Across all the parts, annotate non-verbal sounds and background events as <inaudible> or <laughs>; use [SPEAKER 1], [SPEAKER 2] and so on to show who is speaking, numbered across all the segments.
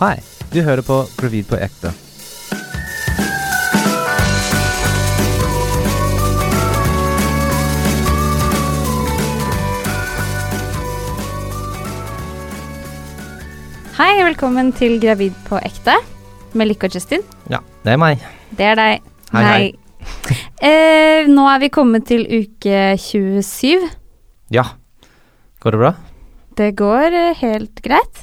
[SPEAKER 1] Hei, du hører på Gravid på ekte.
[SPEAKER 2] Hei, og velkommen til Gravid på ekte med Lykke og Justin.
[SPEAKER 1] Ja, det er meg.
[SPEAKER 2] Det er deg.
[SPEAKER 1] Hei, hei.
[SPEAKER 2] eh, nå er vi kommet til uke 27.
[SPEAKER 1] Ja. Går det bra? <laughs>
[SPEAKER 2] Det går eh, helt greit.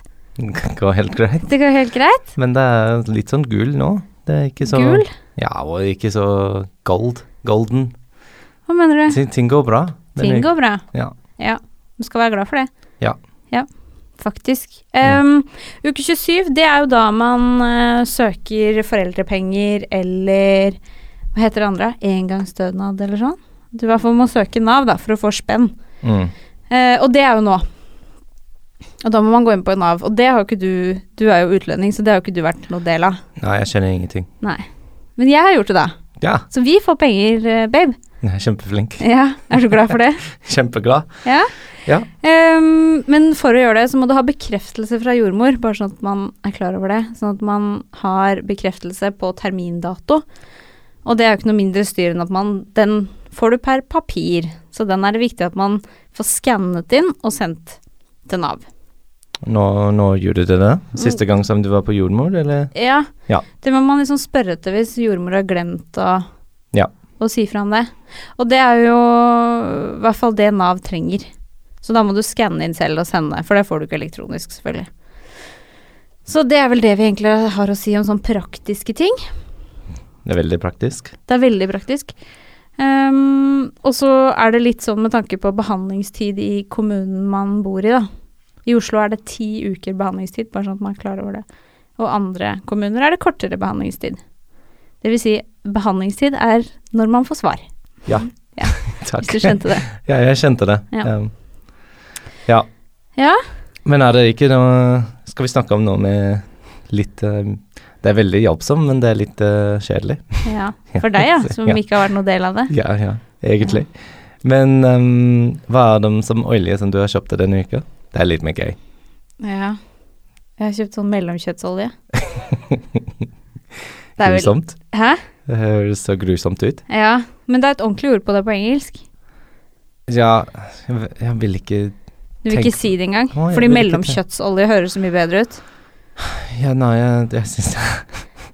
[SPEAKER 1] Går helt greit.
[SPEAKER 2] Det går helt greit.
[SPEAKER 1] Men det er litt sånn gul nå. Det er ikke så
[SPEAKER 2] Gul?
[SPEAKER 1] Ja, og ikke så gold. Golden.
[SPEAKER 2] Hva mener du?
[SPEAKER 1] Ting, ting går bra. Den
[SPEAKER 2] Eh. Ting
[SPEAKER 1] er-
[SPEAKER 2] går bra.
[SPEAKER 1] Ja.
[SPEAKER 2] Ja, du skal være glad for det.
[SPEAKER 1] Ja.
[SPEAKER 2] Ja, faktisk. Ehm, uke 27, det er jo da man eh, søker foreldrepenger eller Hva heter det andre? Engangsstønad eller sånn? Du i hvert fall må søke Nav da, for å få spenn.
[SPEAKER 1] Mm.
[SPEAKER 2] Eh, og det er jo nå. Og da må man gå inn på Nav. Og det har jo ikke du Du er jo utlending, så det har jo ikke du vært noe del av.
[SPEAKER 1] Nei, jeg kjenner ingenting.
[SPEAKER 2] Nei. Men jeg har gjort det, da.
[SPEAKER 1] Ja,
[SPEAKER 2] Så vi får penger, eh, babe.
[SPEAKER 1] jeg er kjempeflink. <laughs>
[SPEAKER 2] Ja, <laughs> er du glad for det?
[SPEAKER 1] Kjempeglad.
[SPEAKER 2] Ja.
[SPEAKER 1] Ja.
[SPEAKER 2] Ehm, men for å gjøre det, så må du ha bekreftelse fra jordmor, bare sånn at man er klar over det. Sånn at man har bekreftelse på termindato. Og det er jo ikke noe mindre styr enn at man Den får du per papir, så den er det viktig at man får skannet inn og sendt til Nav.
[SPEAKER 1] Nå, nå gjorde du det.
[SPEAKER 2] Mm.
[SPEAKER 1] Siste gang som du var på jordmor, eller?
[SPEAKER 2] Ja.
[SPEAKER 1] Ja.
[SPEAKER 2] Det må man liksom spørre etter hvis jordmor har glemt å,
[SPEAKER 1] Ja.
[SPEAKER 2] å si fra om det. Og det er jo i hvert fall det Nav trenger. Så da må du skanne inn selv og sende, for det får du ikke elektronisk, selvfølgelig. Så det er vel det vi egentlig har å si om sånne praktiske ting.
[SPEAKER 1] Det er veldig praktisk.
[SPEAKER 2] Det er veldig praktisk. Ehm, og så er det litt sånn med tanke på behandlingstid i kommunen man bor i, da. I Oslo er det ti uker behandlingstid, bare sånn at man er klar over det. Og andre kommuner er det kortere behandlingstid. Det vil si, behandlingstid er når man får svar,
[SPEAKER 1] Takk.
[SPEAKER 2] hvis du skjønte det.
[SPEAKER 1] Ja, jeg kjente det.
[SPEAKER 2] Ja.
[SPEAKER 1] Um, ja.
[SPEAKER 2] Ja.
[SPEAKER 1] Men er det ikke noe Skal vi snakke om noe med litt um, Det er veldig jobbsom, men det er litt uh,
[SPEAKER 2] <laughs>
[SPEAKER 1] kjedelig.
[SPEAKER 2] Ja, For deg, ja, som
[SPEAKER 1] Ja.
[SPEAKER 2] ikke har vært noen del av det.
[SPEAKER 1] Ja, ja, egentlig. Men um, hva er de som olje som du har kjøpt denne uka? Det er litt mer gøy.
[SPEAKER 2] Ja. Jeg har kjøpt sånn mellomkjøttsolje. Det er vel
[SPEAKER 1] Grusomt.
[SPEAKER 2] Hæ?
[SPEAKER 1] Det høres så grusomt ut.
[SPEAKER 2] Ja. Men det er et ordentlig ord på det på engelsk.
[SPEAKER 1] Ja, jeg v- jeg vil ikke
[SPEAKER 2] Du vil
[SPEAKER 1] Tenk-
[SPEAKER 2] ikke si det engang.
[SPEAKER 1] Å, jeg vil ikke
[SPEAKER 2] Fordi
[SPEAKER 1] det.
[SPEAKER 2] mellomkjøttsolje høres så mye bedre ut.
[SPEAKER 1] Ja, nei, jeg, jeg syns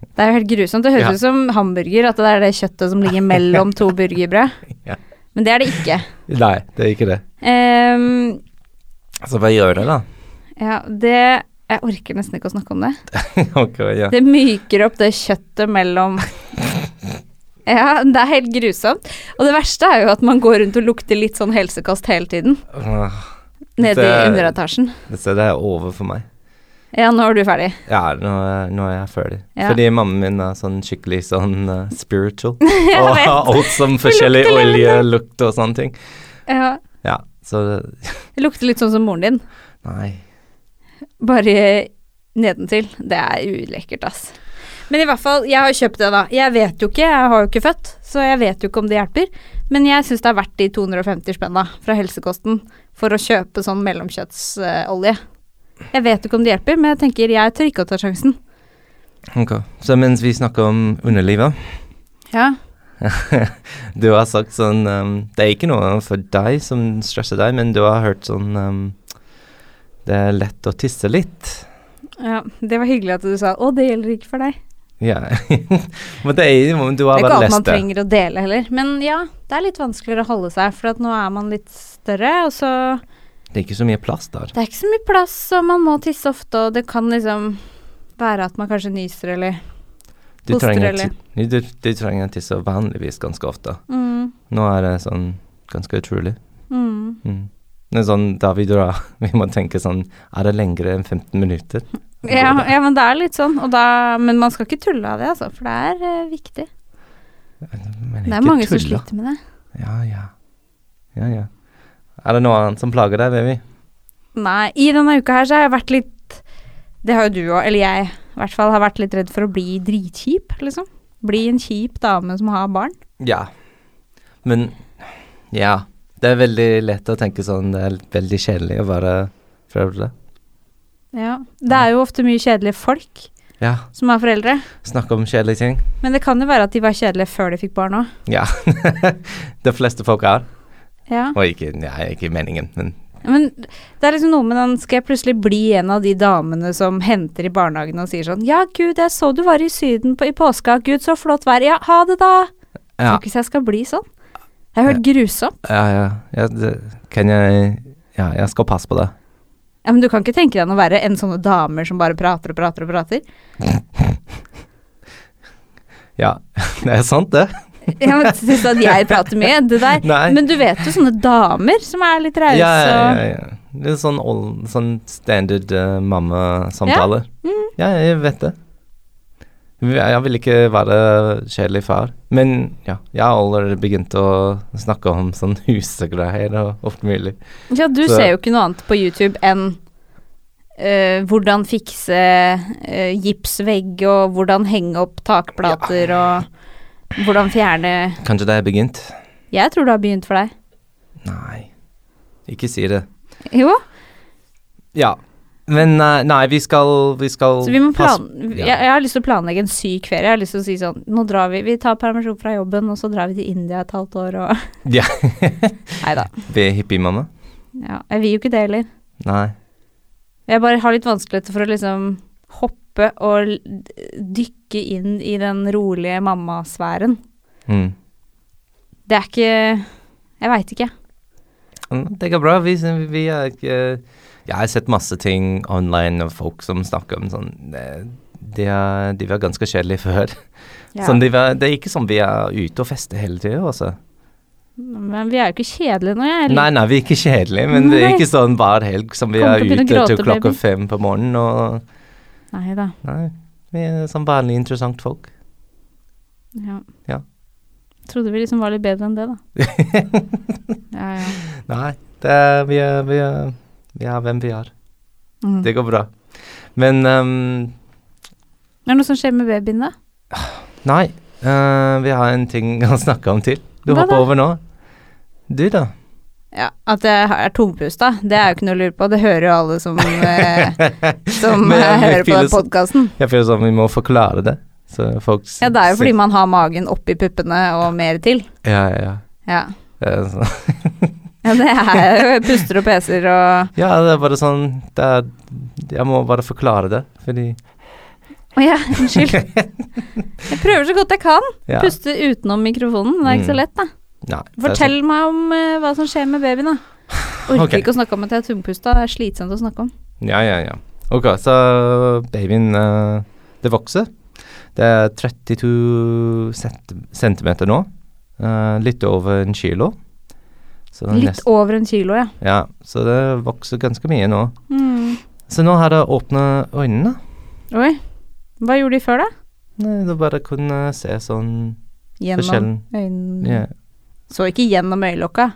[SPEAKER 2] Det er jo helt grusomt. Det høres
[SPEAKER 1] Ja.
[SPEAKER 2] ut som hamburger, at det er det kjøttet som ligger mellom to burgerbrød.
[SPEAKER 1] <laughs> Ja.
[SPEAKER 2] Men det er det ikke.
[SPEAKER 1] <laughs> Nei, det er ikke det.
[SPEAKER 2] Ehm,
[SPEAKER 1] Så hva gjør det, da?
[SPEAKER 2] ja, det Jeg orker nesten ikke å snakke om det.
[SPEAKER 1] <laughs> ok, ja.
[SPEAKER 2] Det myker opp det kjøttet
[SPEAKER 1] <laughs>
[SPEAKER 2] mellom Ja, det er helt grusomt. Og det verste er jo at man går rundt og lukter litt sånn helsekost hele tiden.
[SPEAKER 1] Ah,
[SPEAKER 2] Nede i
[SPEAKER 1] Det-
[SPEAKER 2] underetasjen.
[SPEAKER 1] Så det er over for meg.
[SPEAKER 2] Ja, nå er du ferdig.
[SPEAKER 1] Ja, nå er, nå er jeg ferdig.
[SPEAKER 2] Ja.
[SPEAKER 1] Fordi mammaen min er sånn skikkelig sånn eh,
[SPEAKER 2] <laughs>
[SPEAKER 1] spiritual.
[SPEAKER 2] Jeg
[SPEAKER 1] og
[SPEAKER 2] vet.
[SPEAKER 1] har alt som forskjellig
[SPEAKER 2] lukter levende.
[SPEAKER 1] oljelukt og sånne ting.
[SPEAKER 2] Ja,
[SPEAKER 1] Ja, så det-
[SPEAKER 2] det lukter litt sånn som moren din,
[SPEAKER 1] Nei.
[SPEAKER 2] bare nedentil. Det er ulekkert, ass. Men i hvert fall, jeg har kjøpt det, da. Jeg vet jo ikke, jeg har jo ikke født, så jeg vet jo ikke om det hjelper. Men jeg syns det er verdt de 250 spenna fra helsekosten for å kjøpe sånn mellomkjøttsolje. Jeg vet jo ikke om det hjelper, men jeg tenker jeg tør ikke å ta sjansen.
[SPEAKER 1] Ok. Så mens vi snakker om underlivet
[SPEAKER 2] Ja.
[SPEAKER 1] Du har sagt sånn um, Det er ikke noe for deg som stresser deg, men du har hørt sånn um, Det er lett å tisse litt.
[SPEAKER 2] Det var hyggelig at du sa 'Å, det gjelder ikke for deg'.
[SPEAKER 1] Ja. <laughs> men det er jo Du
[SPEAKER 2] Det
[SPEAKER 1] har
[SPEAKER 2] er ikke
[SPEAKER 1] bare
[SPEAKER 2] alt man
[SPEAKER 1] lest det.
[SPEAKER 2] trenger å dele heller. Men ja, det er litt vanskeligere å holde seg, for at nå er man litt større, og så
[SPEAKER 1] Det er ikke så mye plass der.
[SPEAKER 2] Det er ikke så mye plass, og man må tisse ofte, og det kan liksom være at man kanskje nyser eller
[SPEAKER 1] Du
[SPEAKER 2] Hoster,
[SPEAKER 1] trenger,
[SPEAKER 2] eller?
[SPEAKER 1] ti- du, du trenger å tisse vanligvis ganske ofte.
[SPEAKER 2] mm,
[SPEAKER 1] Nå er det sånn ganske utrolig.
[SPEAKER 2] mm.
[SPEAKER 1] Mm. Men sånn, da <laughs> vi drar, vi må tenke sånn Er det lengre enn 15 minutter?
[SPEAKER 2] <laughs> Ja, ja, men det er litt sånn, og da, men man skal ikke tulle av det, altså, for det er eh, viktig.
[SPEAKER 1] Men
[SPEAKER 2] Det
[SPEAKER 1] ikke
[SPEAKER 2] er mange som
[SPEAKER 1] tulla.
[SPEAKER 2] sliter med det.
[SPEAKER 1] Ja, ja. Ja, ja. Er det noe annet som plager deg, baby?
[SPEAKER 2] Nei, i denne uka her så har jeg vært litt Det har jo du òg, eller jeg i hvert fall, har vært litt redd for å bli dritkjip, liksom. Bli en kjip dame som har barn.
[SPEAKER 1] Ja. Men Ja. Det er veldig lett å tenke sånn Det er veldig kjedelig å være prøve det.
[SPEAKER 2] Ja. Det er jo ofte mye kjedelige folk
[SPEAKER 1] Ja,
[SPEAKER 2] som har foreldre.
[SPEAKER 1] snakke om kjedelige ting.
[SPEAKER 2] Men det kan jo være at de var kjedelige før de fikk barn òg.
[SPEAKER 1] Ja. <laughs> de fleste folk er.
[SPEAKER 2] Ja.
[SPEAKER 1] Og ikke, nei, ikke meningen, men
[SPEAKER 2] Men det er liksom noe med den Skal jeg plutselig bli en av de damene som henter i barnehagen og sier sånn Ja, gud, jeg så du var i Syden på, i påska. Gud, så flott vær. Ja, ha det, da.
[SPEAKER 1] ja.
[SPEAKER 2] Tror ikke jeg skal bli sånn. Det er helt grusomt.
[SPEAKER 1] Ja, ja. ja det, kan jeg Ja, jeg skal passe på det.
[SPEAKER 2] Ja, Men du kan ikke tenke deg noe verre enn sånne damer som bare prater og prater og prater.
[SPEAKER 1] Ja, <laughs> det er sant, det.
[SPEAKER 2] Ja, men synes at jeg prater mye, det der.
[SPEAKER 1] Nei.
[SPEAKER 2] Men du vet jo sånne damer som er litt
[SPEAKER 1] Ja,
[SPEAKER 2] rause
[SPEAKER 1] ja, ja,
[SPEAKER 2] og
[SPEAKER 1] ja. Det er sånn, old, sånn standard eh, mamma-samtaler.
[SPEAKER 2] Mm.
[SPEAKER 1] Ja, jeg vet det. Jeg vil ikke være kjedelig far, men ja, jeg har allerede begynt å snakke om sånn <laughs> husegreier og alt mulig.
[SPEAKER 2] Ja, du
[SPEAKER 1] Så-
[SPEAKER 2] ser jo ikke noe annet på YouTube enn eh, hvordan fikse eh, gipsvegg, og hvordan henge opp takplater, og hvordan fjerne
[SPEAKER 1] Kanskje det er begynt?
[SPEAKER 2] Jeg tror det har begynt for deg.
[SPEAKER 1] Nei, ikke si det.
[SPEAKER 2] Jo,
[SPEAKER 1] Ja, men eh, nei, vi skal, vi skal
[SPEAKER 2] så vi må
[SPEAKER 1] passe-
[SPEAKER 2] plan...
[SPEAKER 1] ja.
[SPEAKER 2] Jeg, jeg har lyst til å planlegge en syk ferie. Jeg har lyst til å si sånn Nå drar vi Vi tar permisjon fra jobben, og så drar vi til India et halvt år, og
[SPEAKER 1] <laughs>
[SPEAKER 2] <laughs>
[SPEAKER 1] Ja.
[SPEAKER 2] Nei da.
[SPEAKER 1] Vi er hippiemamma?
[SPEAKER 2] Ja, jeg vil jo ikke det heller.
[SPEAKER 1] Nei.
[SPEAKER 2] Jeg bare har litt vanskeligheter for å liksom hoppe og l- dykke inn i den rolige mammasfæren.
[SPEAKER 1] Mm.
[SPEAKER 2] Det er ikke Jeg veit ikke.
[SPEAKER 1] Mm, Det går bra. Vi, vi er ikke Jeg har sett masse ting online av folk som snakker om sånn eh, De, er, de var ganske kjedelige før. Sånn, de var, det er ikke sånn vi er ute og fester hele tida, altså.
[SPEAKER 2] Men vi er jo ikke kjedelige nå, jeg.
[SPEAKER 1] Nei, nei, vi er ikke kjedelige, men det er
[SPEAKER 2] Nei.
[SPEAKER 1] ikke sånn hver helg som vi
[SPEAKER 2] Kommer
[SPEAKER 1] er
[SPEAKER 2] til å begynne
[SPEAKER 1] ute
[SPEAKER 2] å gråte,
[SPEAKER 1] til klokka
[SPEAKER 2] baby.
[SPEAKER 1] fem på morgenen og
[SPEAKER 2] Nei da.
[SPEAKER 1] Nei. Vi er sånn vanlig interessant folk. <laughs>
[SPEAKER 2] Ja.
[SPEAKER 1] Ja.
[SPEAKER 2] Trodde vi liksom var litt bedre enn det, da. ja, ja.
[SPEAKER 1] Nei, det er, vi, er, vi, er, vi er hvem vi er.
[SPEAKER 2] Mm.
[SPEAKER 1] Det går bra. Men ehm,
[SPEAKER 2] Er det noe som skjer med babyen, da?
[SPEAKER 1] Nei, eh, vi har en ting <laughs> å snakke om til. Du
[SPEAKER 2] Hva
[SPEAKER 1] hopper
[SPEAKER 2] da?
[SPEAKER 1] over nå. Du, da? <laughs>
[SPEAKER 2] Ja, At jeg er tungpusta, det er jo ikke noe å lure på. Det hører jo alle
[SPEAKER 1] <laughs>
[SPEAKER 2] som, eh, som
[SPEAKER 1] Men jeg eh, hører på føler
[SPEAKER 2] hører på
[SPEAKER 1] den
[SPEAKER 2] den
[SPEAKER 1] så-
[SPEAKER 2] podkasten.
[SPEAKER 1] Jeg føler som vi må forklare det. Så folk
[SPEAKER 2] Ja, det er jo fordi
[SPEAKER 1] ser-
[SPEAKER 2] man har magen oppi puppene og mer til.
[SPEAKER 1] Ja, ja, ja.
[SPEAKER 2] Ja.
[SPEAKER 1] Eh, så- <laughs>
[SPEAKER 2] Ja, det er jo puster og peser og
[SPEAKER 1] ja, det er bare sånn det er, Jeg må bare forklare det, fordi
[SPEAKER 2] Å ja, unnskyld. Jeg prøver så godt jeg kan.
[SPEAKER 1] <laughs> ja.
[SPEAKER 2] Puste utenom mikrofonen. Det er ikke så
[SPEAKER 1] Mm.
[SPEAKER 2] lett, da.
[SPEAKER 1] Nei, det er
[SPEAKER 2] Fortell meg om eh, hva som skjer med babyen, da. Orker
[SPEAKER 1] Ok.
[SPEAKER 2] ikke å snakke om at jeg er tungpusta. Det er slitsomt å snakke om.
[SPEAKER 1] sånn. Ja, ja, ja. Ok, så babyen eh, Det vokser. Det er 32 cent- centimeter nå. Eh, litt over en kilo. Så det er
[SPEAKER 2] Litt
[SPEAKER 1] nest-
[SPEAKER 2] over en kilo, ja.
[SPEAKER 1] Ja, så det vokser ganske mye nå.
[SPEAKER 2] Mm.
[SPEAKER 1] Så nå har jeg åpna øynene.
[SPEAKER 2] Oi. Hva gjorde de før, da?
[SPEAKER 1] Nei, det bare kunne se sånn
[SPEAKER 2] Gjennom
[SPEAKER 1] forskjellen.
[SPEAKER 2] øynene
[SPEAKER 1] Ja,
[SPEAKER 2] Så ikke gjennom øyelokka?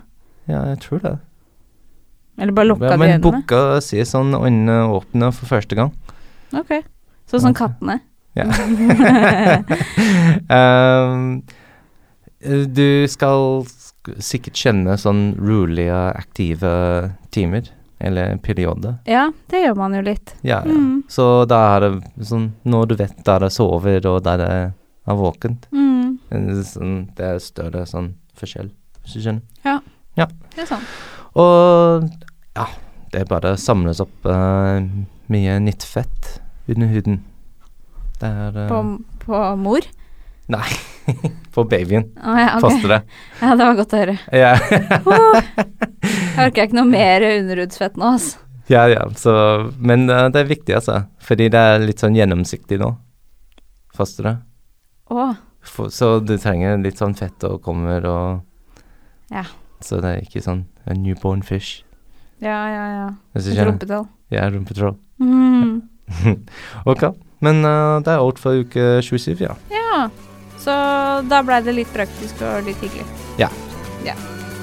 [SPEAKER 1] ja, jeg tror det.
[SPEAKER 2] Eller bare lukka
[SPEAKER 1] Ja,
[SPEAKER 2] de
[SPEAKER 1] men
[SPEAKER 2] øynene?
[SPEAKER 1] bukka sier sånn øynene åpne for første
[SPEAKER 2] <laughs>
[SPEAKER 1] gang.
[SPEAKER 2] Ok. Sånn som kattene?
[SPEAKER 1] Ja. Ehm, du skal sk- sikkert kjenne sånn rolige, aktive timer, eller periode.
[SPEAKER 2] Ja, det gjør man jo litt.
[SPEAKER 1] Ja, ja.
[SPEAKER 2] Mm.
[SPEAKER 1] Så da er det sånn Når du vet der jeg sover, og der jeg er våken,
[SPEAKER 2] Mm.
[SPEAKER 1] Men Det er, sånn, det er større sånn forskjell, hvis du skjønner.
[SPEAKER 2] Det er sant.
[SPEAKER 1] Og ja, det er bare samles opp eh, mye nyttfett under huden. Det er eh,
[SPEAKER 2] På, på mor?
[SPEAKER 1] på babyen.
[SPEAKER 2] Å ja, ok.
[SPEAKER 1] Fosteret.
[SPEAKER 2] Ja, det var godt å høre.
[SPEAKER 1] <laughs> Ja,
[SPEAKER 2] Uh, jeg orker ikke noe mer underhudsfett nå, altså.
[SPEAKER 1] ja, ja. Så, men eh, det er viktig, altså. Fordi det er litt sånn gjennomsiktig nå, fosteret.
[SPEAKER 2] Å,
[SPEAKER 1] For, så du trenger litt sånn fett og kommer og
[SPEAKER 2] Ja.
[SPEAKER 1] Så det er ikke sånn a newborn fish.
[SPEAKER 2] ja, ja, ja.
[SPEAKER 1] Hvis du
[SPEAKER 2] Et
[SPEAKER 1] skjønner.
[SPEAKER 2] rumpetall.
[SPEAKER 1] Ja, rumpetroll.
[SPEAKER 2] Mm.
[SPEAKER 1] Ok, men eh, det er alt for uke 27, ja.
[SPEAKER 2] Ja. Så da blei det litt praktisk og litt hyggelig.
[SPEAKER 1] Ja.
[SPEAKER 2] ja.